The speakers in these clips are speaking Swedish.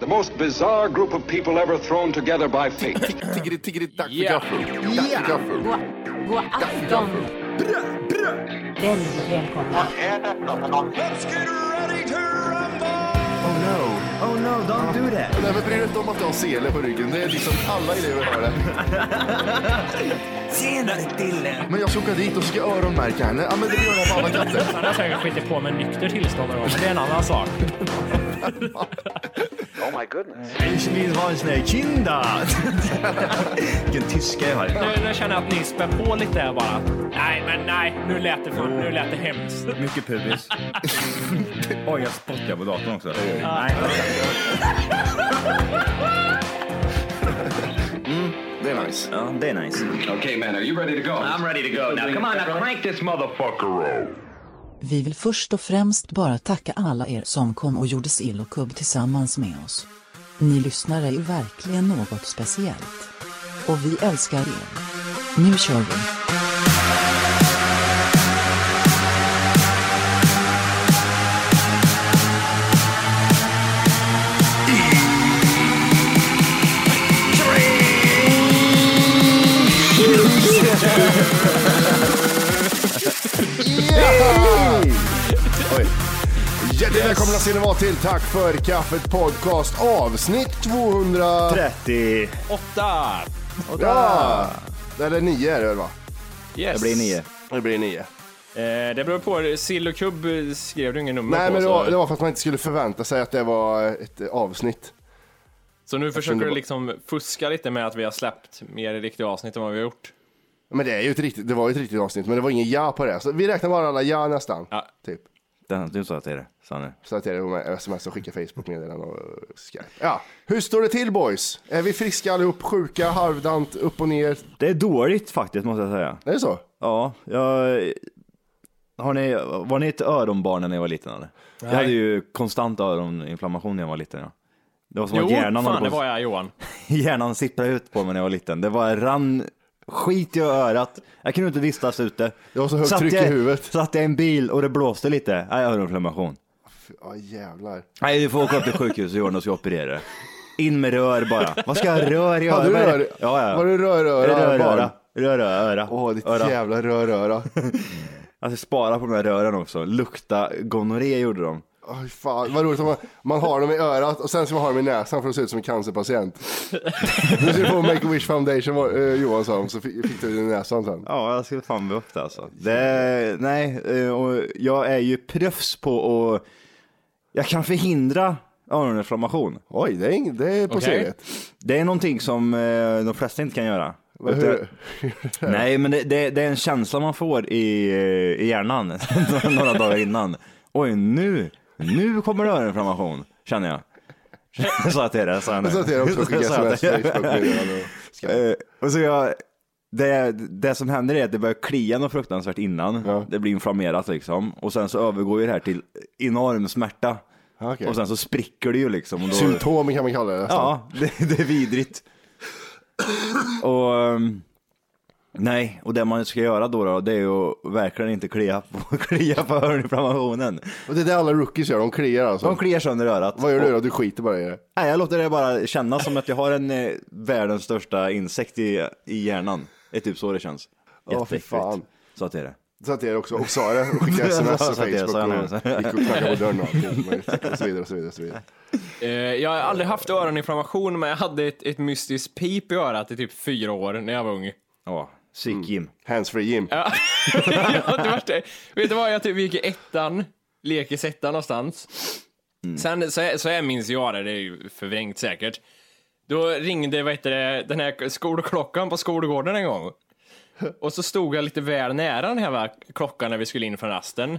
The most bizarre group of people ever thrown together by fate. Tiggeri, tiggeri, dack för Ja. gaffel. Dack för gaffel. God, god afton. Väldigt välkomna. Oh no. Oh no, don't do that. Nej men bry dig inte om att du har sele på ryggen. Det är liksom alla elever har det. Senare Dille. Men jag ska åka dit och ska öronmärka henne. Ja men det gör jag på alla katter. Han har säkert skitit på med nykter tillstånd någon gång, men det är en annan sak. Ich vill ha en sån här kinda. Vilken tyska jag har. Nu, nu känner jag att ni spär på lite här bara. Nej, men nej. Nu lät det, fan, nu lät det hemskt. Mycket pubis. Oj, jag spottar på datorn också. Nej. Det är nice. Ja, det är nice. okay, man, are you ready to go? I'm ready to go. Now, come on, now crank this motherfucker up. Vi vill först och främst bara tacka alla er som kom och gjorde Sillokubb tillsammans med oss. Ni lyssnare är verkligen något speciellt. Och vi älskar er. Nu kör vi! Oj. Hjärtligt välkomna ska ni vara till Tack för kaffet podcast avsnitt 200... 30. Åtta! Ja. Eller 9 är det väl va? Yes. Det blir nio. Det blir 9. Eh, det beror på. Sill och kubb eh, skrev du inget nummer Nej på. men det så, var, det var för att man inte skulle förvänta sig att det var ett eh, avsnitt. så nu försöker kunde du bara- liksom fuska lite med att vi har släppt mer riktiga avsnitt än vad vi har gjort. Men det, är ju ett riktigt, det var ju ett riktigt avsnitt men det var ingen ja på det. Så vi räknar bara alla ja nästan. Ja. Typ. Den, du sa att det är det, sa nu. Så att det är med sms och skicka Facebook-meddelanden och Skype. Ja, hur står det till boys? Är vi friska allihop? Sjuka, halvdant, upp och ner? Det är dåligt faktiskt, måste jag säga. Är det så? Ja, jag... Har ni, var ni ett öronbarn när ni var liten eller? Jag hade ju konstant öroninflammation när jag var liten. Ja. Det var som Jo, att hjärnan, fan håller det på, var jag Johan. hjärnan sipprade ut på mig när jag var liten. Det bara rann skit i örat. Jag kunde inte vistas ute. Det var så högt Satt tryck i jag, huvudet. Satt jag i en bil och det blåste lite. Nej, öroninflammation. Ja jävlar. Nej, du får åka upp till sjukhuset Johan och ska operera dig. In med rör bara. Vad ska jag rör i örat? Hade du Vad är det? rör? Ja, ja. Var det rör, Är det öra, rör, barn? öra? Rör, öra, öra. Åh, ditt öra. jävla rör, öra. Alltså spara på de här rören också. Lukta gonorré gjorde de. Oj, fan, vad roligt om man, man har dem i örat och sen ska man ha dem i näsan för att se ut som en cancerpatient. Du ser på Make-A-Wish Foundation vad, eh, Johan sa om, så fick, fick du det i näsan sen. Ja, jag skulle fan bli upp det alltså. Det, nej, eh, och jag är ju proffs på att... Jag kan förhindra öroninflammation. Oj, det är, ing- det är på Okej. seriet. Det är någonting som eh, de flesta inte kan göra. Hur, Nej, men det, det, det är en känsla man får i, eh, i hjärnan några dagar innan. Oj, nu, nu kommer det öroninflammation, känner jag. Jag sa till det, sa jag nu. så att det är också att skicka Jag sa sms, till det. Facebook-meddelanden och Eh, och så jag, det, det som händer är att det börjar klia något fruktansvärt innan. Det blir inflammerat liksom. Och sen så övergår ju det här till enorm smärta. Okej. Och sen så spricker det ju liksom. Och då, Symptom kan man kalla det nästan. Ja, det, det är vidrigt. Och ehm, nej, och det man ska göra då, då det är ju att verkligen inte klia på, klia på öroninflammationen. Och det är det alla rookies gör, de kliar alltså. De kliar sönder örat. Vad gör du då? Du skiter bara i det. Nej, jag låter det bara kännas som att jag har en eh, världens största insekt i, i hjärnan. Det är typ så det känns. Åh, fy fan. Så att det är det. Så att det är också, och sa det, och skickade sms Ja, och så att det är Facebook så här och gick och knackade på dörren och allt. och så vidare och så vidare. Och så vidare. Eh, jag har aldrig haft öroninflammation, men jag hade ett, ett mystiskt pip i örat i typ fyra år när jag var ung. Ja, psyk Jim. Handsfree Jim. Ja, det värsta är- Vet du vad, jag typ gick i ettan, lekis ettan någonstans. Sen, så, här- så här minns jag det, det är ju förvrängt säkert. Då ringde vad heter det, den här skolklockan på skolgården en gång. Och så stod jag lite väl nära den här va- klockan när vi skulle in från rasten.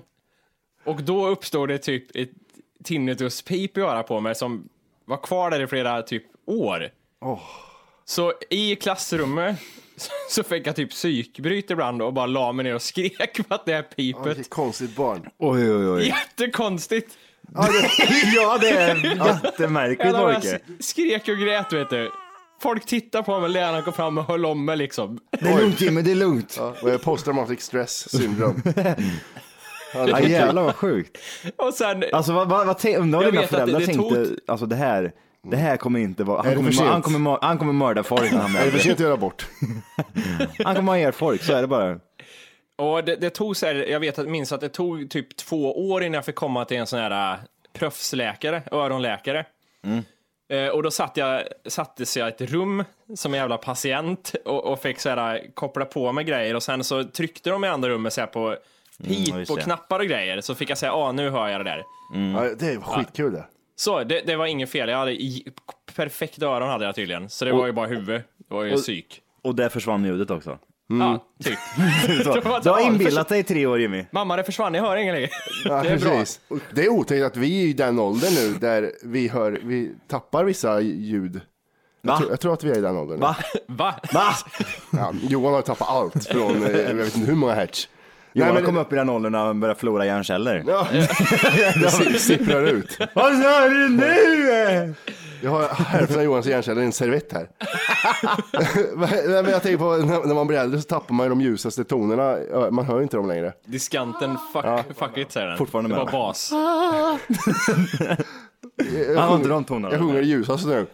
Och då uppstod det typ ett tinnituspip i örat på mig som var kvar där i flera typ år. Så i klassrummet så fick jag typ psykbryt ibland och bara la mig ner och skrek på att det här Ja, vilket pipet. konstigt barn. Oj, oj, oj. Jättekonstigt! Ja, det är jättemärkligt, Jävlar vad Jag Orke. s- skrek och grät vet du. Folk tittade på mig, läraren kom fram och höll om mig liksom. Det är lugnt, Jimmy, det är lugnt. Ja, och jag är posttraumatic stress syndrom. Mm. Ja, jävlar vad sjukt. Och sen, Alltså vad, vad, vad tänk- undrar om Jag dina vet att det- föräldrar det tänkte, tog- alltså det här, Det här kommer inte vara... Är Han det kommer, för sent? han kommer, mör- han kommer mörda folk när han Är det för blir sent äldre. att göra abort? Han kommer ha ihjäl folk, så är det bara. Och det, det tog så här, jag vet att, minns att det tog typ två år innan jag fick komma till en sån här äh, proffsläkare, öronläkare. Eh, och då satt jag, sattes jag i ett rum som en jävla patient och, och fick så här, äh, koppla på mig grejer och sen så tryckte de i andra rummet så här, på pip just och det. knappar och grejer så fick jag säga, ja ah, nu hör jag det där. Mm. Ja, det är skitkul det. Så det, det var inget fel, jag hade i, perfekta öron hade jag tydligen. Så det var ju bara huvud, det var ju psyk. Och Mm. där försvann ljudet också. Ja, typ. Så, du har inbillat dig i tre år Jimmy. Mamma det försvann, jag hör inget längre. Ja, det är bra. precis. Och Det är otäckt att vi är i den åldern nu där vi, hör, vi tappar vissa ljud. Va? Jag tror, jag tror att vi är i den åldern. nu. Va? Va? Va? Ja, Johan har tappat allt från eh, jag vet inte hur många hertz. Johan men- kom upp i den åldern när han började förlora hjärnceller. Ja. Det si- sipprar ut. Vad sa du nu? Jag har hälften av Johans hjärnceller i en servett här. Nej, men jag tänker på när när man blir äldre så tappar man ju de ljusaste tonerna. Ja, Man hör ju inte dem längre. Diskanten fuck, fuck it säger den. Fortfarande det med. var bas. Han har inte de tonerna. Jag sjunger det ljusaste nu.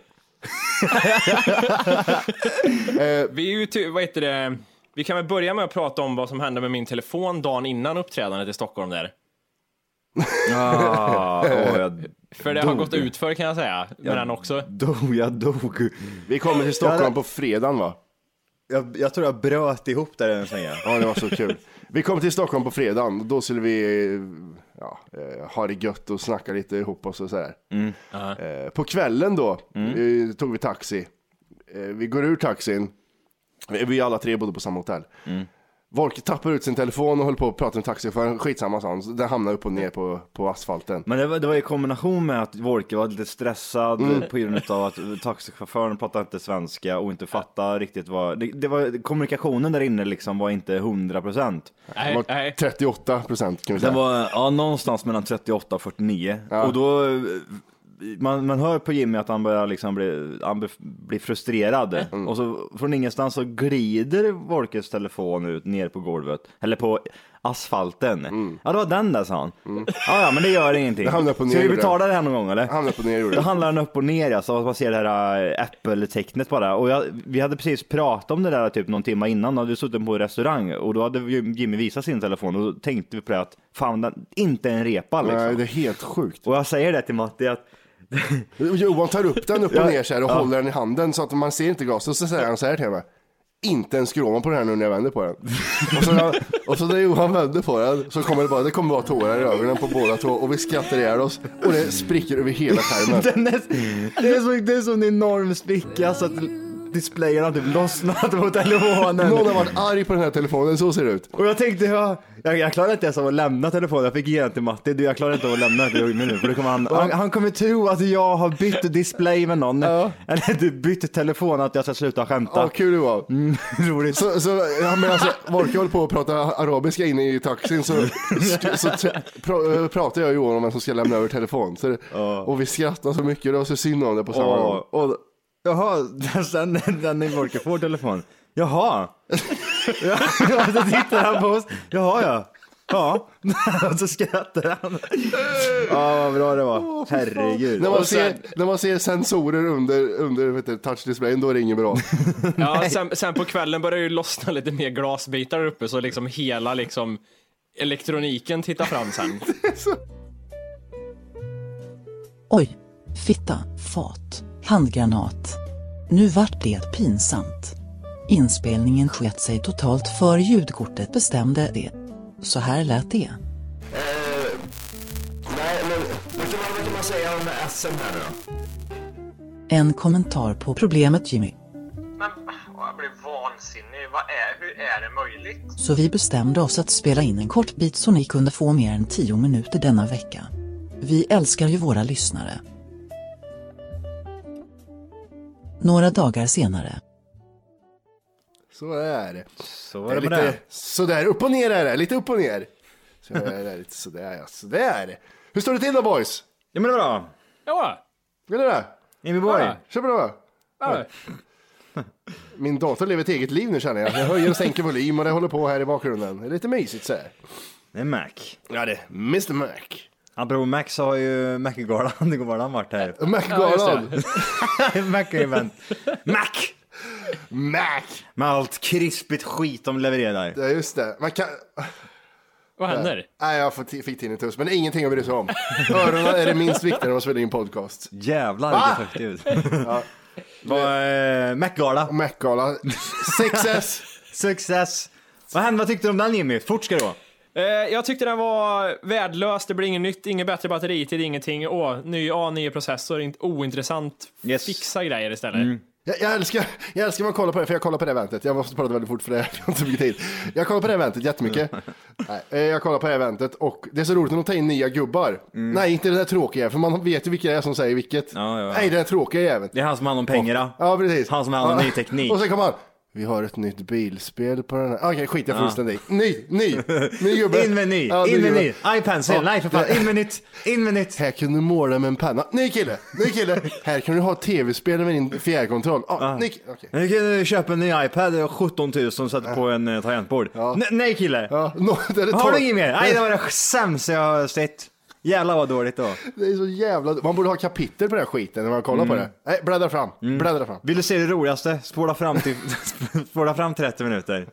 Vi är ju ty- vad heter det? Vi kan väl börja med att prata om vad som hände med min telefon dagen innan uppträdandet i Stockholm där. Ah, åh, jag För det har gått ut för kan jag säga, med den också. dog, jag dog. Vi kommer till Ja, Stockholm det- på fredagen va? Jag, jag tror jag bröt ihop där en svänga. Ja, det var så kul. Vi kom till Stockholm på fredagen och då skulle vi eh, ja, eh, ha det gött och snacka lite ihop oss och sådär. Eh, På kvällen då eh, tog vi taxi. Eh, Vi går ur taxin. Vi vi alla tre bodde på samma hotell. Volker tappar ut sin telefon och håller på att prata med taxichauffören. Skitsamma sa han. Så Den hamnar upp och ner på, på asfalten. Men det var, det var i kombination med att Wolke var lite stressad Mm. på grund av att taxichauffören pratade inte svenska och inte fattade riktigt vad... Det, det var, kommunikationen där inne liksom var inte 100 procent. Det Nej, var nej. 38 procent kan vi Den säga. var ja, någonstans mellan 38 och 49. Och då, eh, man, man hör på Jimmy att han börjar liksom bli, han be- blir Mm. frustrerad. Och så från ingenstans så glider Wolkes telefon ut ner på golvet, eller på asfalten. Ja, det var den där sa han. Ja, ja, men det gör ingenting. Mm. Det hamnar på Ska vi nedre. betala det här någon gång eller? Hamnar på ner gjorde Då den. handlar den upp och ner ja, så att man ser det här äh, Apple-tecknet bara. Och jag, vi hade precis pratat om det där typ någon timme innan, då hade vi suttit på en restaurang och då hade ju Jimmy visat sin telefon och då tänkte vi på det att fan, den, inte en repa liksom. Nej, det är helt sjukt. Och jag säger det till Matti att Johan tar upp den upp och Ja. ner så här och håller den i handen så att man ser inte glaset. Och så säger han så här till mig. Inte en skråma på den här nu när jag vänder på den. Och så, när- och så när Johan vände på den så kommer det bara, det kommer bara tårar i ögonen på båda två och vi skrattar ihjäl oss och det spricker över hela skärmen. den är, det, är så, det är så en enorm spricka så att displayen har typ lossnat på telefonen. Någon har varit arg på den här telefonen, så ser det ut. Och jag tänkte, ja, jag, jag klarar inte ens av att lämna telefonen. Jag fick ge den till Matti. Du, jag klarar inte av att lämna den till Jimmy nu. För då kommer han, han, han kommer tro att jag har bytt display med någon. Eller du bytt telefon, att jag ska sluta skämta. Ja, kul det var. Mm. Roligt. Så, så ja, men alltså, Volker höll på att prata arabiska inne i taxin så, så, tra- pra, pratar jag och Johan om vem som ska lämna över telefon. Så, och vi skrattar så mycket, det var så synd om det på samma gång. Och, och, jaha, sen den när Volker får telefon. Jaha. Ja, och så tittar han på oss. Jaha ja. Ja. Och så skrattar han. Ja, vad bra det var. Herregud. När man, Och sen- ser, när man ser sensorer under, under vet du, touchdisplayen, då är det inget bra. Ja, sen, sen på kvällen började det ju lossna lite mer glasbitar där uppe så liksom hela liksom elektroniken tittar fram sen. Oj, fitta, fat, handgranat. Nu vart det pinsamt. Inspelningen sket sig totalt för ljudkortet bestämde det. Så här lät det. Eh, Nej, men vad kan, man, vad kan man säga om SM här nu då? En kommentar på problemet Jimmy. Men ah, åh, jag blir vansinnig. Vad är, hur är det möjligt? Så vi bestämde oss att spela in en kort bit så ni kunde få mer än 10 minuter denna vecka. Vi älskar ju våra lyssnare. Några dagar senare. Så är det. Så det var är det med lite det. sådär, upp och ner är det, lite upp och ner. Så är det, lite sådär ja, sådär. Hur står det till då boys? Ja men det var bra. Ja, Vill du det? Jimmy Boy. Ja. Kör bra. ja. Min dator lever ett eget liv nu känner jag. Jag höjer och sänker volym och det håller på här i bakgrunden. Det är lite mysigt så här. Det är Mac. Ja det, Mr Mac. Ja, bror Max har ju Mac-galan, det går bara han varit här. Mac-galan! Mac-event. Mac! Mac! Med allt krispigt skit de levererar. Ja, just det. Man kan... Vad händer? Nej, jag får t- fick tinnitus, men det är ingenting att bry sig om. Öronen är det minst viktiga när man spelar in podcast. Jävlar vilket högt ljud. Vad, eh, Mac-gala. Mac-gala, 6S! Success! Vad hände, vad tyckte du om den Jimmy? Fort ska det gå. Eh, jag tyckte den var värdelös, det blir inget nytt, inget bättre batteritid, ingenting. Åh, ny A9-processor, inte ointressant. Yes. Fixa grejer istället. Jag, jag älskar, jag älskar man kollar på det, för jag kollar på det eventet. Jag måste prata väldigt fort för det, jag har inte så mycket tid. Jag kollar på det eventet jättemycket. Nej, eh, jag kollar på det eventet och det är så roligt när de tar in nya gubbar. Nej, inte den där tråkiga, för man vet ju vilka det är som säger vilket. Mm. Ja, ja, ja. Nej, den där tråkiga jäveln. Det är han som har hand om pengarna. Ja, precis. Han som har hand om Ja. ny teknik. Och sen kommer han. Vi har ett nytt bilspel på den här. Okej, skit jag Ja. fullständigt i. Ny, ny, ny gubbe. In med ny, Ja, in med gubbe. ny. iPencil, Ja. nej för fan. In med nytt, in med nytt. Här kan du måla med en penna. Ny kille, ny kille. Här kan du ha tv-spel med din fjärrkontroll. Ah, ny ki- okej. Nu kan du köpa en ny iPad, det var 17 000 och sätta på en eh, tangentbord. N- nej kille! Ja, nå- det är Har tolv. du inget mer? Nej det var det sämsta jag har sett. Jävlar vad dåligt då. Det är så jävla... Man borde ha kapitel på den här skiten när man kollar Mm. på det. Nej, bläddra fram. Bläddra fram. Vill du se det roligaste? Spola fram till, spola fram 30 minuter.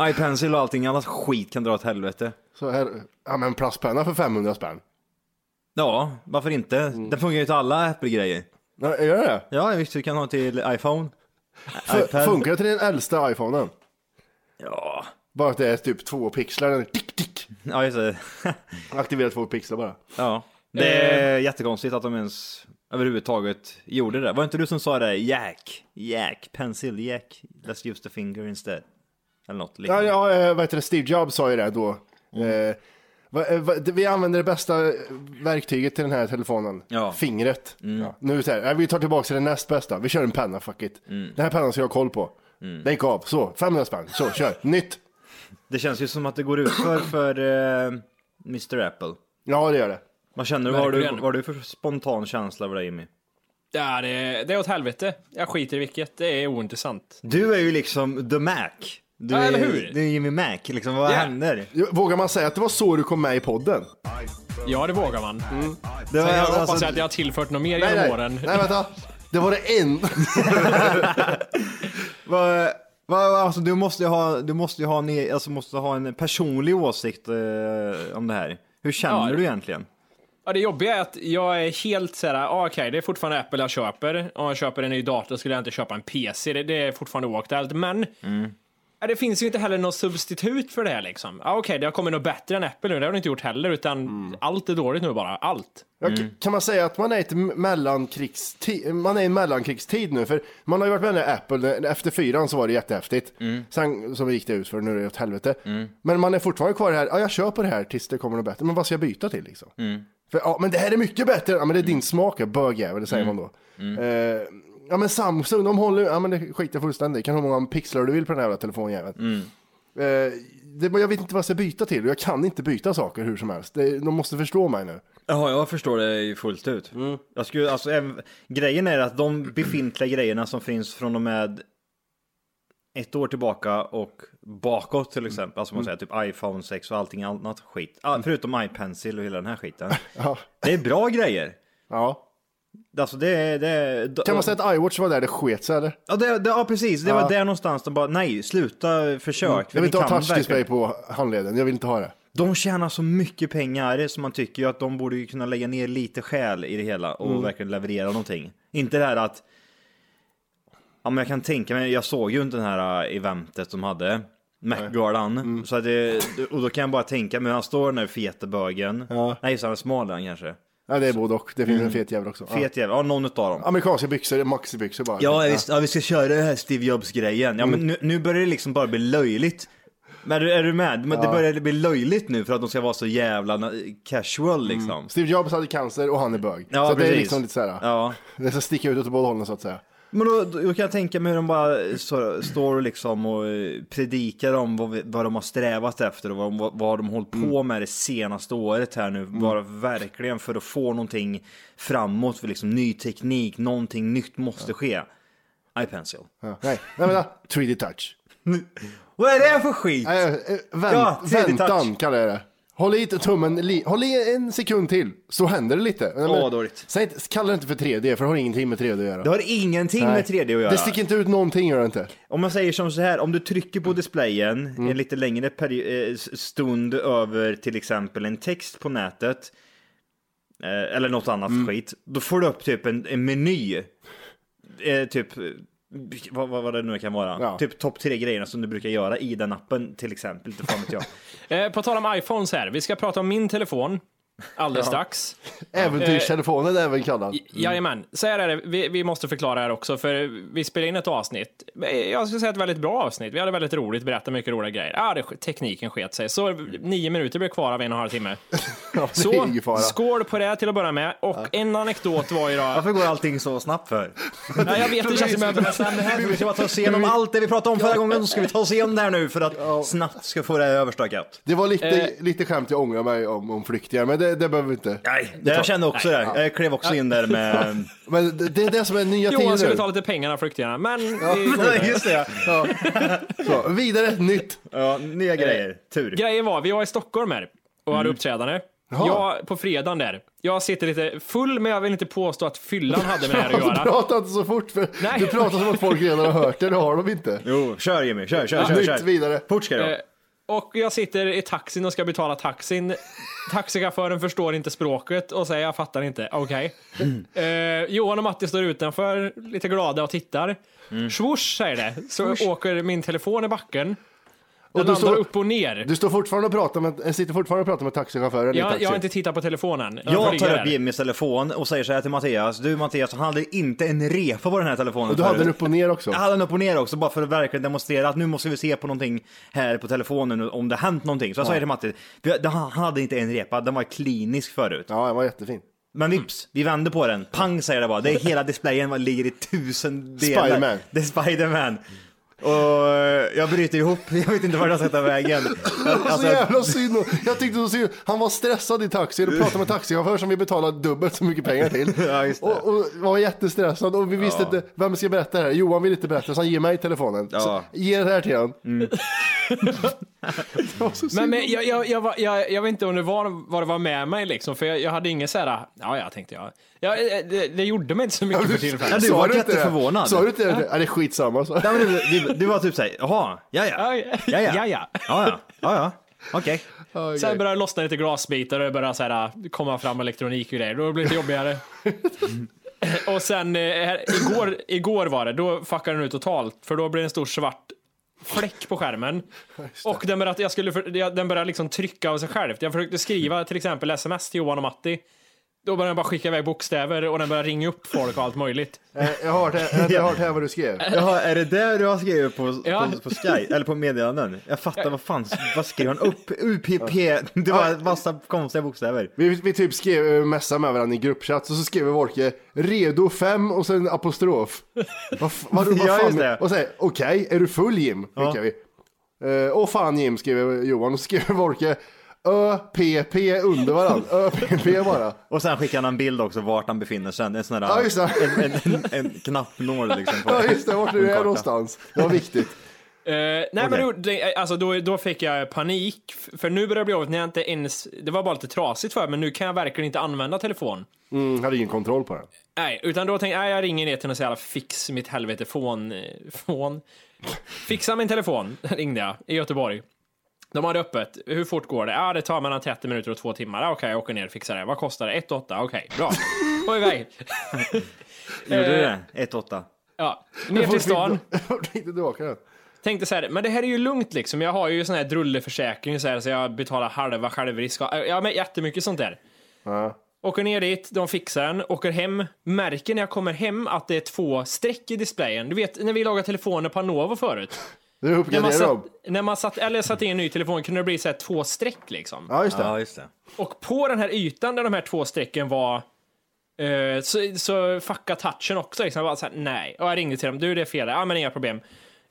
iPencil och allting, annars skit kan dra åt helvete. Så här. Ja, men plastpenna för 500 spänn. Ja, varför inte? Mm. Det fungerar ju till alla Apple-grejer. Ja, gör det? Ja, visst du kan ha till iPhone. F- iPad. Funkar det till den äldsta iPhonen? Ja, Bara att det är typ två pixlar. Den är Tick, tick. ja just det. Aktivera två pixlar bara. Ja. Det Eh. är jättekonstigt att de ens överhuvudtaget gjorde det. Var det inte du som sa det? Jack, Jack, pencil, Jack, let's use the finger instead. Eller något Ja, liknande. ja eh, vad heter det? Steve Jobs sa ju det då. Eh, va, eh, va, det- vi använder det bästa eh, verktyget till den här telefonen. Ja. Fingret. Ja. Nu så här, nej, vi tar tillbaka det näst bästa. Vi kör en penna, fuck it. Den här pennan ska jag ha koll på. Den gick av, så 500 spänn, så kör, nytt. Det känns ju som att det går ut för, för eh, Mr Apple. Ja, det gör det. Vad känner du? Vad har du, Verkligen. vad har du för spontan känsla över det Jimmy? Ja, det, det är åt helvete. Jag skiter i vilket. Det är ointressant. Du är ju liksom the Mac. Du Ja, är, eller hur? Du är Jimmy Mac, liksom vad Ja. händer? Vågar man säga att det var så du kom med i podden? Ja, det vågar man. Det var, Jag alltså, hoppas att jag har tillfört något mer genom åren. nej vänta. Det var det enda. vad, vad, vad- alltså, du måste ju ha, du måste ju ha, en, alltså, måste ha en personlig åsikt eh, om det här. Hur känner Ja. du egentligen? Ja, det jobbiga är att jag är helt såhär, ah, okej, det är fortfarande Apple jag köper. Om jag köper en ny dator skulle jag inte köpa en PC. Det, det är fortfarande oaktuellt, men ja, det finns ju inte heller något substitut för det här liksom. Ah, okej, det har kommit något bättre än Apple nu. Det har det inte gjort heller, utan allt är dåligt nu bara. Allt. Ja, k- Kan man säga att man är, ett m- mellankrigsti- man är i en mellankrigstid nu? För man har ju varit med när Apple, efter fyran så var det jättehäftigt. Sen som gick det ut för nu är det åt helvete. Men man är fortfarande kvar här, ja jag köper det här tills det kommer något bättre. Men vad ska jag byta till liksom? För, ja, men det här är mycket bättre, ja, men det är din smak, jag bögjävel, det säger man då. Eh, ja men Samsung, de håller ja men det skiter jag fullständigt i. Kan ha hur många pixlar du vill på den här jävla telefonjäveln. Eh, det, jag vet inte vad jag ska byta till och jag kan inte byta saker hur som helst. Det, de måste förstå mig nu. Ja, jag förstår det ju fullt ut. Mm. Jag skulle, alltså, även, grejen är att de befintliga grejerna som finns från och med ett år tillbaka och bakåt till exempel, alltså man Mm. säger typ iPhone 6 och allting annat skit, ah, förutom iPencil och hela den här skiten. Ja. Det är bra grejer. Ja. Alltså det är... Det, är- Kan man säga att iWatch var där det sket sig eller? Ja, det, det, ja precis, det var där någonstans de bara nej, sluta försök. för Mm. Jag vill ni inte ha kan touch verkligen- display på handleden, jag vill inte ha det. De tjänar så mycket pengar så man tycker ju att de borde ju kunna lägga ner lite själ i det hela och verkligen leverera någonting. Inte det här att... Ja men jag kan tänka mig, jag såg ju inte det här äh, eventet de hade. Mac-galan. Så att det, och då kan jag bara tänka mig, han står den där fete bögen. Nej just det, han är smal han kanske. Ja, det är både och, det finns en fet jävel också. Ja. Mm. Fet jävel, ja någon utav dem. Amerikanska byxor, maxibyxor bara. Ja, visst, ja, vi ska köra den här Steve Jobs-grejen. Ja, men nu, nu börjar det liksom bara bli löjligt. Men är du- är du med? Men Det börjar bli löjligt nu för att de ska vara så jävla na- casual liksom. Steve Jobs hade cancer och han är bög. Ja, så det är precis. liksom lite så här, Ja. det ska sticka ut åt båda hållen så att säga. Men då, då kan jag tänka mig hur de bara så, står och liksom och eh, predikar om vad, vi- vad de har strävat efter och vad, de- vad de hållit på Mm. med det senaste året här nu. Bara verkligen för att få någonting framåt, för liksom ny teknik, någonting nytt måste ske. iPencil. Ja. Nej, nej vänta, 3D touch. Vad är det för skit? Nej, eh, vänt, Ja, 3D touch. väntan kallar jag det. Håll i inte tummen, li- håll i en sekund till, så händer det lite. Nej, men- Åh, dåligt. Säg inte, kalla det inte för 3D, för det har ingenting med 3D att göra. Det har ingenting Nej. med 3D att göra. Det sticker inte ut någonting, gör det inte. Om man säger som så här, om du trycker på displayen en lite längre peri- eh, s- stund över till exempel en text på nätet eh, eller något annat skit, då får du upp typ en, en meny. Eh, typ eh, vad, vad, vad det nu kan vara. Ja. Typ topp tre grejerna som du brukar göra i den appen till exempel. Inte fan vet jag. Eh, på tal om iPhones här, vi ska prata om min telefon alldeles strax. Äventyrstelefonen är även kallad. Mm. Jajamän, så här är det. Vi, vi måste förklara här också, för vi spelade in ett avsnitt. Jag skulle säga ett väldigt bra avsnitt. Vi hade väldigt roligt, berättade mycket roliga grejer. Ah, det, tekniken sket sig, så nio minuter blev kvar av en och en halv timme. Ja, det är Så, ingen fara. skål på det till att börja med. Och en anekdot var ju då... Varför går allting så snabbt för? Nej, jag vet, det känns som att jag Men sen det här, vi ska bara ta oss igenom allt det vi pratade om förra gången, så ska vi ta oss igenom det här nu för att snabbt ska få det här överstökat. Det var lite, Eh. lite skämt jag ångrar mig om, om flyktingar, men det, det behöver vi inte. Nej, jag kände också det. Jag klev också in där med... Men det, det är det som är nya Johan tider skulle nu. ta lite pengar av flyktingarna, men... eh, vi- Nej, just det. Ja. Så, vidare, nytt. Ja, nya grejer. Tur. Grejen var, vi var i Stockholm här och hade Mm. uppträdande. Jag, på fredagen där. Jag sitter lite full, men jag vill inte påstå att fyllan hade med det här att göra. Prata inte så fort, för Nej. du pratar som att folk redan har hört det, det har de inte. Jo, kör Jimmy. Kör, kör, kör. Nytt, kör. vidare. Fort ska det vara. Eh, Och jag sitter i taxin och ska betala taxin. Taxichauffören förstår inte språket och säger jag fattar inte. Okej. Eh, Johan och Matti står utanför, lite glada och tittar. Mm. säger det. Så åker min telefon i backen. Den du landar står- upp och ner. Du står fortfarande och pratar med, äh, sitter fortfarande och pratar med taxichauffören i jag, taxin. jag har inte tittat på telefonen. Jag ligger tar där. upp Jimmys telefon och säger så här till Mattias. Du Mattias, han hade inte en repa på den här telefonen Du hade förut. den upp och ner också. Jag hade den upp och ner också bara för att verkligen demonstrera att nu måste vi se på någonting här på telefonen om det hänt någonting. Så jag säger till Matti, vi- han hade inte en repa, den var klinisk förut. Ja, den var jättefin. Men vips, vi vände på den. Pang säger det bara. Det är hela displayen man ligger i tusen delar. Spiderman. Det är Spiderman. Och eh, jag bryter ihop. Jag vet inte vart jag ska ta vägen. Så Alltså, jävla synd. om- Jag tyckte så synd. Han var stressad i taxin och pratade med taxichauffören som vi betalade dubbelt så mycket pengar till. Ja, just det. Och, och var jättestressad och vi visste inte, vem ska berätta det här? Johan vill inte berätta så han ger mig telefonen. Så, Ja. Mm. ge det här till honom. det var så synd. Men, men jag, jag, jag, var- jag, jag vet inte om det var vad det var med mig liksom, för jag, jag hade ingen så här, ja ja tänkte jag. jag eh, det, det gjorde mig inte så mycket för Ja, tillfället. du Sa var du inte det? jätteförvånad. Sa du inte det? Ja, det är skitsamma. Så. Nej, men du, du, du var typ såhär, jaha, ja ja. Ja, ja. Ja, ja. ja, ja. ja, ja. Okej. Sen började det lossna lite glasbitar och det började så här, äh, komma fram elektronik och grejer, då blev det jobbigare. och sen eh, här, igår, igår var det, då fuckade den ut totalt, för då blev det en stor svart fläck på skärmen. Och den började, jag skulle, för- jag- den började liksom trycka av sig själv. Jag försökte skriva till exempel sms till Johan och Matti. Då började den bara skicka iväg bokstäver och den började ringa upp folk och allt möjligt. Eh, Jag har hört, jag, jag har hört här vad du skrev. Jaha, är det där du har skrivit på, Ja. på, på Sky? Eller på meddelanden? Jag fattar, vad fan, vad skrev han upp? UPP, det var massa konstiga bokstäver. Vi, vi typ skrev eh, messade med varandra i gruppchatt och så skrev Wolke redo fem och sen apostrof. Vad f- vad- vad Ja, fan- just det. Och sen okej, är du full Jim? Ja. Skickar vi. Eh, Åh fan Jim, skriver Johan och så skriver Wolke ÖPP under varandra. ÖPP bara. Och sen skickar han en bild också vart han befinner sig. En sån där, Ja, just det. En, en, en, en knappnål liksom. På, Ja just det, vart på en du är karta. någonstans. Det var viktigt. Eh, nej men då, det, alltså, då, då fick jag panik, f- för nu börjar det bli jobbigt när jag inte ens, det var bara lite trasigt för mig, men nu kan jag verkligen inte använda telefon. Mm, hade ingen kontroll på den. Nej, utan då tänkte jag, nej, jag ringer ner till någon så jävla fix mitt helvete fån, eh, fån. Fixa min telefon, ringde jag, i Göteborg. De hade öppet, hur fort går det? Ja, det tar mellan 30 minuter och två timmar. Ja, Okej, jag åker ner och fixar det. Vad kostar det? 1 8 Okej, bra. Och iväg. Gjorde du Eh, det? 1-8. Ja, ner till stan. Vart du inte tillbaka den. Tänkte så här, men det här är ju lugnt liksom. Jag har ju sån här drulleförsäkring så, här, så jag betalar halva självrisk. Ja, men jättemycket sånt där. Åker ner dit, de fixar den, åker hem, märker när jag kommer hem att det är två streck i displayen. Du vet när vi lagade telefoner på Anova förut. Du När man, uppgraderade satt, dem. när man satt, eller satte in en ny telefon kunde det bli så här två streck liksom. Ja just det. just det. Och på den här ytan där de här två strecken var eh, så, så fuckade touchen också. Liksom. Jag bara så här, nej. Och jag ringde till dem. Du, det är fel. Ja, men inga problem.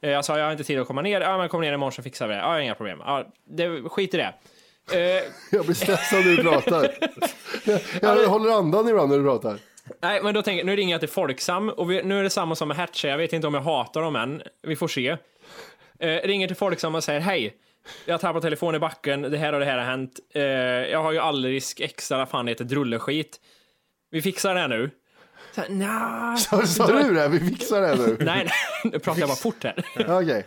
Eh, Jag sa, jag har inte tid att komma ner. Ja, men kom ner imorgon så fixar vi det. Ja, inga problem. Ja, det, skit i det. Eh, Jag blir stressad när du pratar. Jag, jag håller andan ibland när du pratar. nej, men då tänker jag, nu ringer jag till Folksam och vi, nu är det samma som med Hertz. Jag vet inte om jag hatar dem än. Vi får se. Eh, ringer till Folksam och säger hej. Jag tappade telefonen i backen, det här och det här har hänt. Eh, jag har ju allrisk extra, vad fan det heter, drulleskit. Vi fixar det här nu. Så här, Nja. Sa du det? Vi fixar det nu. Nej, nej, nu pratar jag bara fort här. Okej.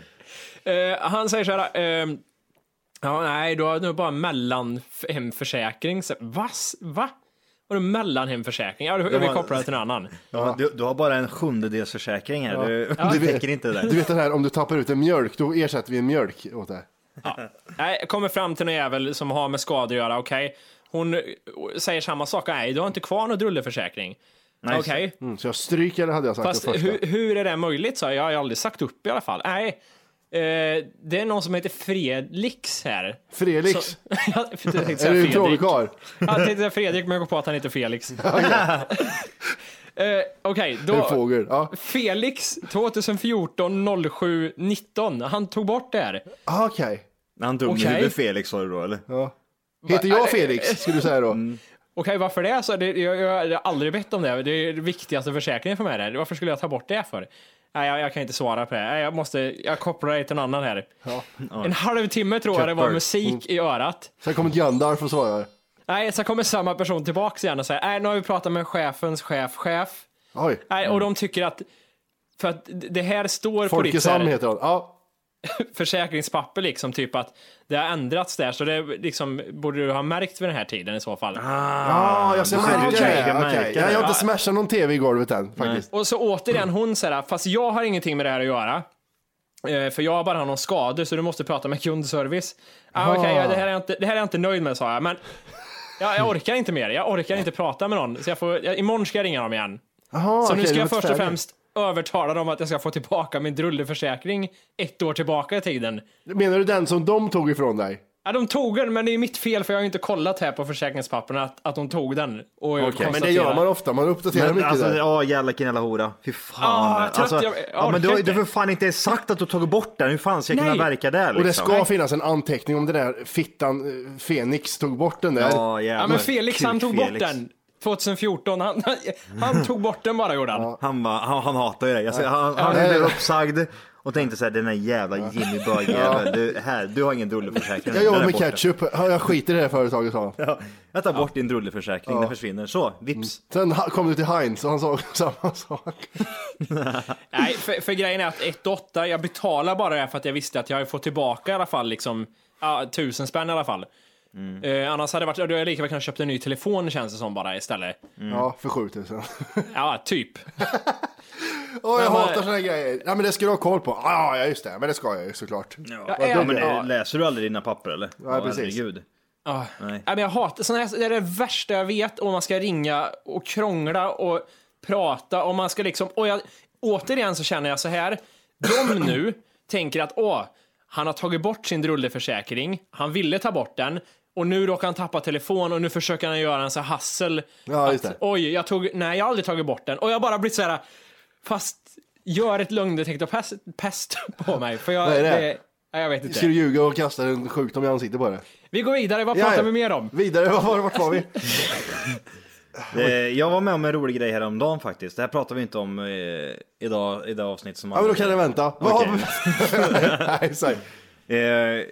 Eh, han säger så här. ehm, ja, nej, du har nu bara mellanhemförsäkring. Så, va? va? Har du mellanhemförsäkring? Ja, du, vi var- kopplar det till en annan. Ja, du, du har bara en sjundedels försäkring här. Du, du vet- täcker inte det Du där. vet den här om du tappar ut en mjölk, då ersätter vi en mjölk åt det. Nej, jag kommer fram till någon jävel som har med skador att göra, okej. Hon eh, säger samma sak. Nej, du har inte kvar någon drulleförsäkring. Okej, Mm, så jag stryker hade jag sagt fast det första. hur, hur är det möjligt? Så jag har ju aldrig sagt upp i alla fall. Nej, eh, det är någon som heter Fredriks här. Felix, Så- jag tänkte är säga du en Fredrik. trollkarl? Jag tänkte säga Fredrik, men jag kom på att han heter Felix. Eh, Okej, En då. fågel? Ja. Felix 2014 07 19. Han tog bort det här. Ah, Okej. Han tog Okej. okay. huvud Felix sa du då eller? Heter jag Felix, skulle du säga då? Mm. Okej, varför det? Så det jag, jag har aldrig bett om det. Det är den viktigaste försäkringen för mig. Där. Varför skulle jag ta bort det för? Nej, jag, jag kan inte svara på det. Nej, jag, måste, jag kopplar dig till en annan här. En halvtimme tror jag det var Cutbird. musik i örat. Sen kommer Gandalf och svarar. Nej, så kommer samma person tillbaka igen och säger nej, nu har vi pratat med chefens chef, chef. Oj, Nej, och de tycker att för att det här står på ditt så Folkesam här, heter han. Ja. försäkringspapper liksom, typ att det har ändrats där, så det liksom borde du ha märkt vid den här tiden i så fall. Ah, jag ser märka du det. kan märka Okej. Jag jag har inte smashat någon tv i golvet än faktiskt. Och så återigen hon såhär, fast jag har ingenting med det här att göra. Eh, För jag har bara någon skador så du måste prata med kundservice. Ah, Okej, ja, det, här är jag inte- det här är jag inte nöjd med sa jag, men jag, jag orkar inte mer. Jag orkar inte prata med någon. Så jag får, jag, imorgon ska jag ringa dem igen. Aha, Så okej, nu ska det jag var först och färdigt. främst övertala dem att jag ska få tillbaka min drulleförsäkring ett år tillbaka i tiden. Menar du den som de tog ifrån dig? Ja, de tog den, men det är mitt fel för jag har ju inte kollat här på försäkringspapperna att, att de tog den. Och Okej, Men det gör man ofta, man uppdaterar Men mycket alltså, där. ja jävla killen jävla hora. Fy fan. Ah, jag tror alltså, att jag- jag ja, men orkar du, inte. du har för fan inte ens sagt att du har tagit bort den. Hur fan ska jag Nej. kunna verka där liksom? Och det ska finnas en anteckning om det där fittan eh, Fenix tog bort den där. Ja, jävlar. Ja, men Felix han tog bort Kuk-Felix. den 2014. Han, han tog bort den bara gjorde han. Han, bara, han, han hatar ju dig. Alltså, han han Ja. blev uppsagd och tänkte såhär, den där jävla Jimmy Bögjäveln. Du, här, du har ingen drulleförsäkring. Jag jobbar Den är med borta. ketchup, Ja, jag skiter i det här företaget sa han. Ja, jag tar bort din drulleförsäkring, den försvinner. Så, vips. Sen ha- kom du till Heinz och han sa samma sak. Nej, för, för grejen är att 1,8, jag betalar bara det här för att jag visste att jag hade fått tillbaka i alla fall liksom, ja, tusen spänn i alla fall. Eh, annars hade det varit, ja, då hade jag lika väl kunnat köpt en ny telefon känns det som bara istället. Mm. Ja, för 7000. Ja, typ. Åh, jag Men eh, vad- hatar såna här grejer. Ja, men det ska du ha koll på. Ja, ja, just det. Men det ska jag ju såklart. Jag, Ja, är, men ja. det, läser du aldrig dina papper eller? Ja, precis. Herregud. Ja. Nej. Nej, men jag hatar såna här, det är det värsta jag vet om man ska ringa och krångla och prata och man ska liksom, och jag, återigen så känner jag så här, de nu tänker att åh, han har tagit bort sin drulleförsäkring, han ville ta bort den och nu råkar han tappa telefon och nu försöker han göra en så här hassel. Ja, just att, det. oj, jag tog, nej jag har aldrig tagit bort den och jag har bara blivit så här, fast gör ett lögndetektor pest, pest på mig för jag, Vad är det? det, nej, jag vet inte. Ska du ljuga och kasta en sjukdom i ansiktet på det? Vi går vidare, vad pratar Ja, ja. vi mer om? Vidare, vart var, vart var vi? Eh, jag var med om en rolig grej häromdagen faktiskt. Det här pratar vi inte om eh, idag, i det avsnitt som... Ja, men då kan jag vänta. Vad har Okej. vi- Nej, säg. Eh,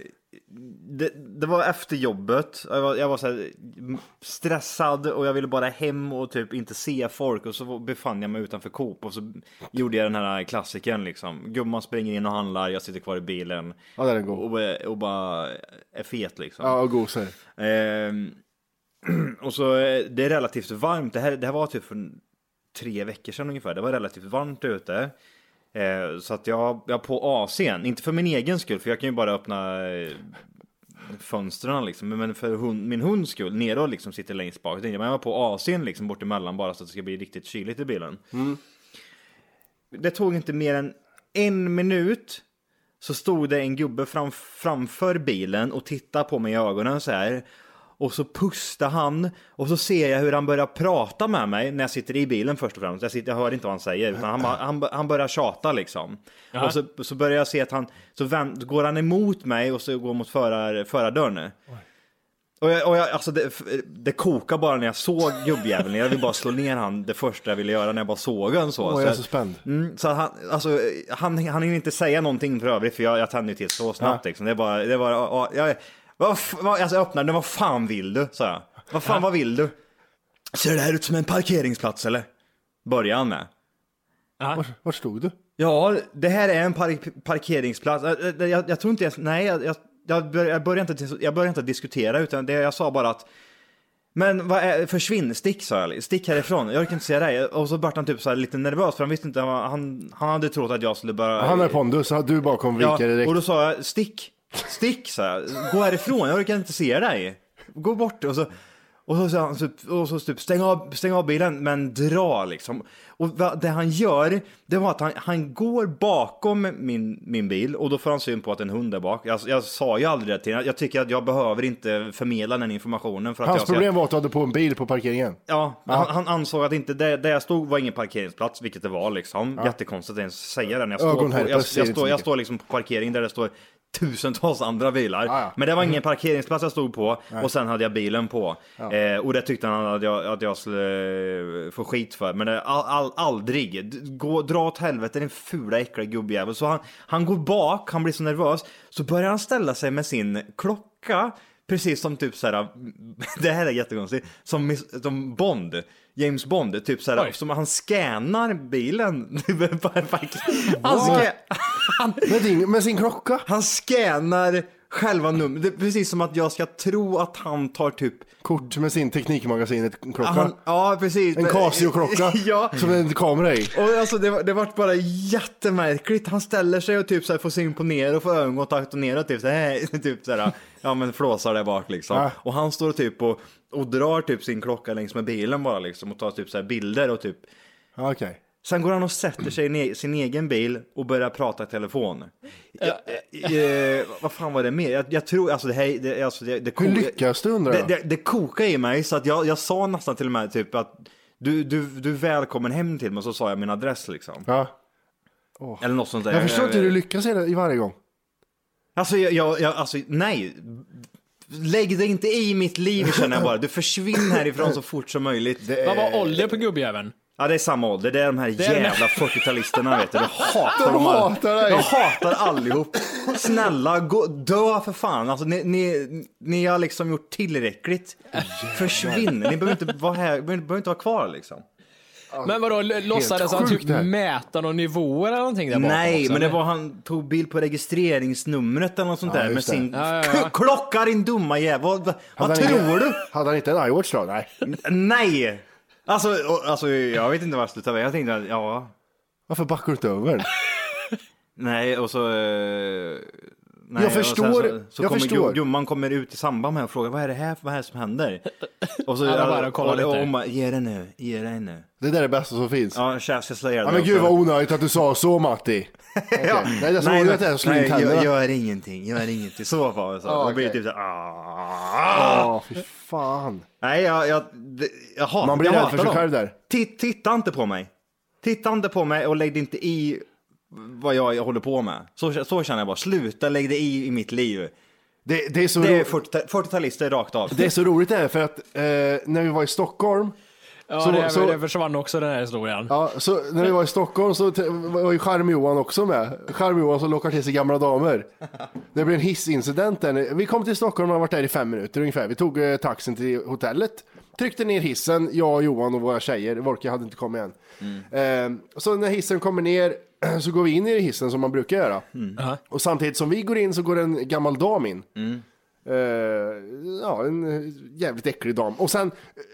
det, det var efter jobbet. Jag var, jag var så här m- stressad och jag ville bara hem och typ inte se folk. Och så befann jag mig utanför Coop och så gjorde jag den här klassikern liksom. Gumman springer in och handlar, jag sitter kvar i bilen. Ja, där är den god. Och, och bara är fet liksom. Ja, och gosar. Ehm, och så eh, det är relativt varmt. Det här, det här var typ för tre veckor sedan ungefär. Det var relativt varmt ute. Eh, så att jag, jag har på AC'n. Inte för min egen skull, för jag kan ju bara öppna eh, fönstren liksom. Men för hund, min hunds skull, nere och liksom sitter längst bak. Jag tänkte, men jag har på AC'n liksom bort emellan bara så att det ska bli riktigt kyligt i bilen. Det tog inte mer än en minut så stod det en gubbe fram, framför bilen och tittade på mig i ögonen så här. Och så pustade han och så ser jag hur han börjar prata med mig när jag sitter i bilen först och främst. Jag, sitter, jag hör inte vad han säger utan han, bara- han, han börjar tjata liksom. Och så, så börjar jag se att han, så vänd, går han emot mig och så går mot förar, förardörren. Och jag, och jag, alltså det, det kokade bara när jag såg gubbjäveln. Jag ville bara slå ner han det första jag ville göra när jag bara såg han så. Åh, jag är så spänd. Mm, så han, alltså, han, han hinner inte säga någonting för övrigt för jag, jag tände ju till så snabbt liksom. Det är bara, det är bara, och, jag, vad, f- vad, alltså jag öppnade den, vad fan vill du? sa jag. Vad fan, vad vill du? Ser det här ut som en parkeringsplats eller? Börjar han med. Var, var stod du? Ja, det här är en park- parkeringsplats. Ä- ä- Jag, jag tror inte ens, nej, jag, jag- jag, bör- jag, började inte, dis- jag började inte diskutera utan det, jag sa bara att men vad är, försvinn, stick sa jag, stick härifrån, jag orkar inte säga dig. Och så vart han typ så här lite nervös för han visste inte, han, han, han hade trott att jag skulle börja. Han är pondus, så du bara kommer vika ja, dig direkt. Och då sa jag, stick, stick sa jag, gå härifrån, jag orkar inte se dig. Gå bort. Och så, och så sa han, typ- och så typ, stäng av, stäng av bilen, men dra liksom. Och va- det han gör, det var att han, han går bakom min, min bil och då får han syn på att en hund är bak. Jag, jag sa ju aldrig det till honom, jag tycker att jag behöver inte förmedla den informationen. För att Hans jag ska- problem var att du hade på en bil på parkeringen. Ja, Han, han ansåg att inte det, där jag stod var ingen parkeringsplats, vilket det var liksom. Jättekonstigt att ens säga det när jag står, på, jag, Ögonherpes jag, säger inte så står, jag mycket. står liksom på parkering där det står tusentals andra bilar. Ja, ja. Men det var ingen parkeringsplats jag stod på och sen hade jag bilen på. Eh, och det tyckte han att jag, att jag skulle eh, få skit för. Men det, all, all, aldrig. D- Gå, dra åt helvete din fula äckliga gubbjävel. Så han, han går bak, han blir så nervös. Så börjar han ställa sig med sin klocka. Precis som typ såhär, det här är jättekonstigt, som, mis- som Bond, James Bond, typ såhär, Oj. som han scannar bilen. han, ska, han, Med, din, med sin klocka. han scannar själva numret. Det är precis som att jag ska tro att han tar typ... Kort med sin Teknikmagasinet-klocka. Han, ja, precis. En Casio-klocka ja. som en kamera i. Och alltså det, var, det vart bara jättemärkligt. Han ställer sig och typ så här får syn på ner och får ögonkontakt och ner och typ så här, typ så här, ja men flåsar där bak liksom. Ja. Och han står typ och, och drar typ sin klocka längs med bilen bara liksom och tar typ så här bilder och typ Ja, Okej. Sen går han och sätter sig i ne- sin egen bil och börjar prata i telefon. Jag, eh, eh, vad fan var det mer? Jag, jag tror, alltså det här, det, alltså det, det Hur lyckas du undrar det, jag? det, det kokar i mig så att jag, jag sa nästan till och med typ att du, du, du är välkommen hem till mig och så sa jag min adress liksom. Ja. Eller något sånt där. Jag förstår inte hur du lyckas i det- i varje gång. Alltså, jag, jag, jag, alltså nej. Lägg dig inte i mitt liv känner jag bara. Du försvinn härifrån så fort som möjligt. Vad Eh, var ålder på gubbjäveln? Ja det är samma ålder, det är de här är de här- jävla 40-talisterna vet du. Jag hatar De dem alla. hatar dig. Jag hatar allihop. Snälla, gå, dö för fan. Alltså ni, ni, ni har liksom gjort tillräckligt. Försvinn, ni behöver inte vara här, ni behöver inte vara kvar liksom. Men vadå, l- låtsades han sjukt typ det här. mäta någon nivå eller någonting där bakom Nej, också, men det eller? var han tog bild på registreringsnumret eller något sånt där med just det. sin Ja, ja, Alltså, ja. klocka din dumma jävel. Vad, vad Hade han tror inte- du? Hade han inte en iWatch då? Nej. Nej! Alltså, och- alltså, jag vet inte vad jag skulle ta vägen. Jag tänkte att, ja, Varför backar du inte över den? nej och så... eh, nej, Jag och sen förstår, Så, så jag kommer förstår. gu- Gumman kommer ut i samband med och frågar vad är det här, vad är det som händer? Och så, Alla bara kollar och, och, lite. hon bara, ge dig nu, ge dig nu. Det där är det bästa som finns. Ja, tja, jag ska slå ihjäl Ja, dig men också. gud vad onödigt att du sa så Matti. Okej. Nej, det är så Nej, roligt att men- det är så slå in nej, jag tänderna. gör ingenting, jag gör ingenting. Så var det. Så. Ja, Då blir det okej. typ så här, "Ah." Ja, fy fan. Nej, jag, jag, det- jag hatar Man blir jag rädd hatar för sig dem. själv där. Ti- Titta inte på mig. Titta inte på mig och lägg dig inte i vad jag, jag håller på med. Så, så känner jag bara. Sluta lägg dig i, i mitt liv. Det, det, är så Det är ro- 40 40-talister rakt av. det är så roligt det här för att eh, när vi var i Stockholm Ja, så- det, så- det försvann också den här historien. Ja, så när vi var i Stockholm så t- var ju Charm-Johan också med. Charm-Johan som lockar till sig gamla damer. Det blev en hissincident där. Vi kom till Stockholm och har varit där i fem minuter ungefär. Vi tog eh, taxin till hotellet, tryckte ner hissen, jag, Johan och våra tjejer. Volke hade inte kommit än. Eh, så när hissen kommer ner så går vi in i hissen som man brukar göra. Och samtidigt som vi går in så går en gammal dam in. Eh, ja, en eh, jävligt äcklig dam. Och sen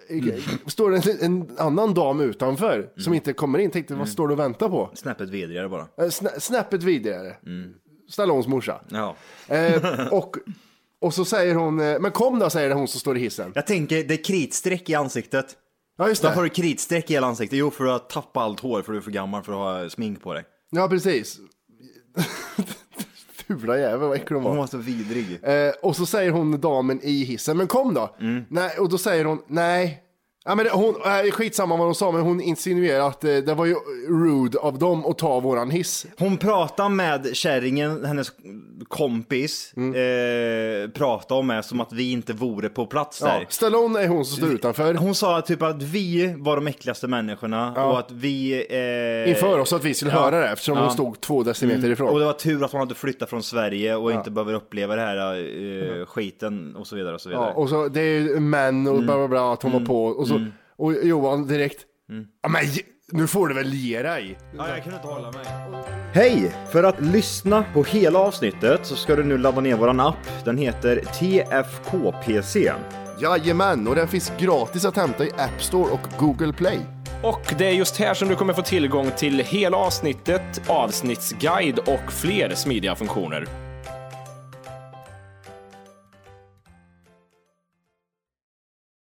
eh, står det en, en annan dam utanför som inte kommer in. Tänkte, vad står du och väntar på? Snäppet vidrigare bara. Eh, Snä, snäppet vidare. Stallones morsa. Ja. Eh, och, och så säger hon, eh, men kom då, säger hon som står i hissen. Jag tänker, det är kritstreck i ansiktet. Ja, just Varför har det. du kritstreck i hela ansiktet? Jo, för att du har tappat allt hår för du är för gammal för att ha smink på dig. Ja, precis. Fula jävel, vad äcklig hon var. Hon var så vidrig. Eh, och så säger hon damen i hissen, men kom då. Mm. Nej, och då säger hon, nej. Ja, men det, hon, eh, skitsamma vad hon sa, men hon insinuerar att eh, det var ju rude av dem att ta våran hiss. Hon pratar med kärringen, hennes kompis Mm. eh, prata om är som att vi inte vore på plats Ja, där. Stallone är hon som står utanför. Hon sa typ att vi var de äckligaste människorna och att vi... Eh, Inför oss att vi skulle höra det eftersom hon stod två decimeter Mm. Och det ifrån. var tur att hon hade flyttat från Sverige och inte behöver uppleva det här eh, skiten och så vidare och så vidare. Mm. Ja, och så det är ju män Mm. och bla bla bla att hon var på och så och Johan direkt. Mm. Ja, men ge- nu får du väl ge dig. jag kunde inte hålla mig. Hej! För att lyssna på hela avsnittet så ska du nu ladda ner våran app. Den heter TFKPC. Jajamän, och den finns gratis att hämta i App Store och Google Play. Och det är just här som du kommer få tillgång till hela avsnittet, avsnittsguide och fler smidiga funktioner.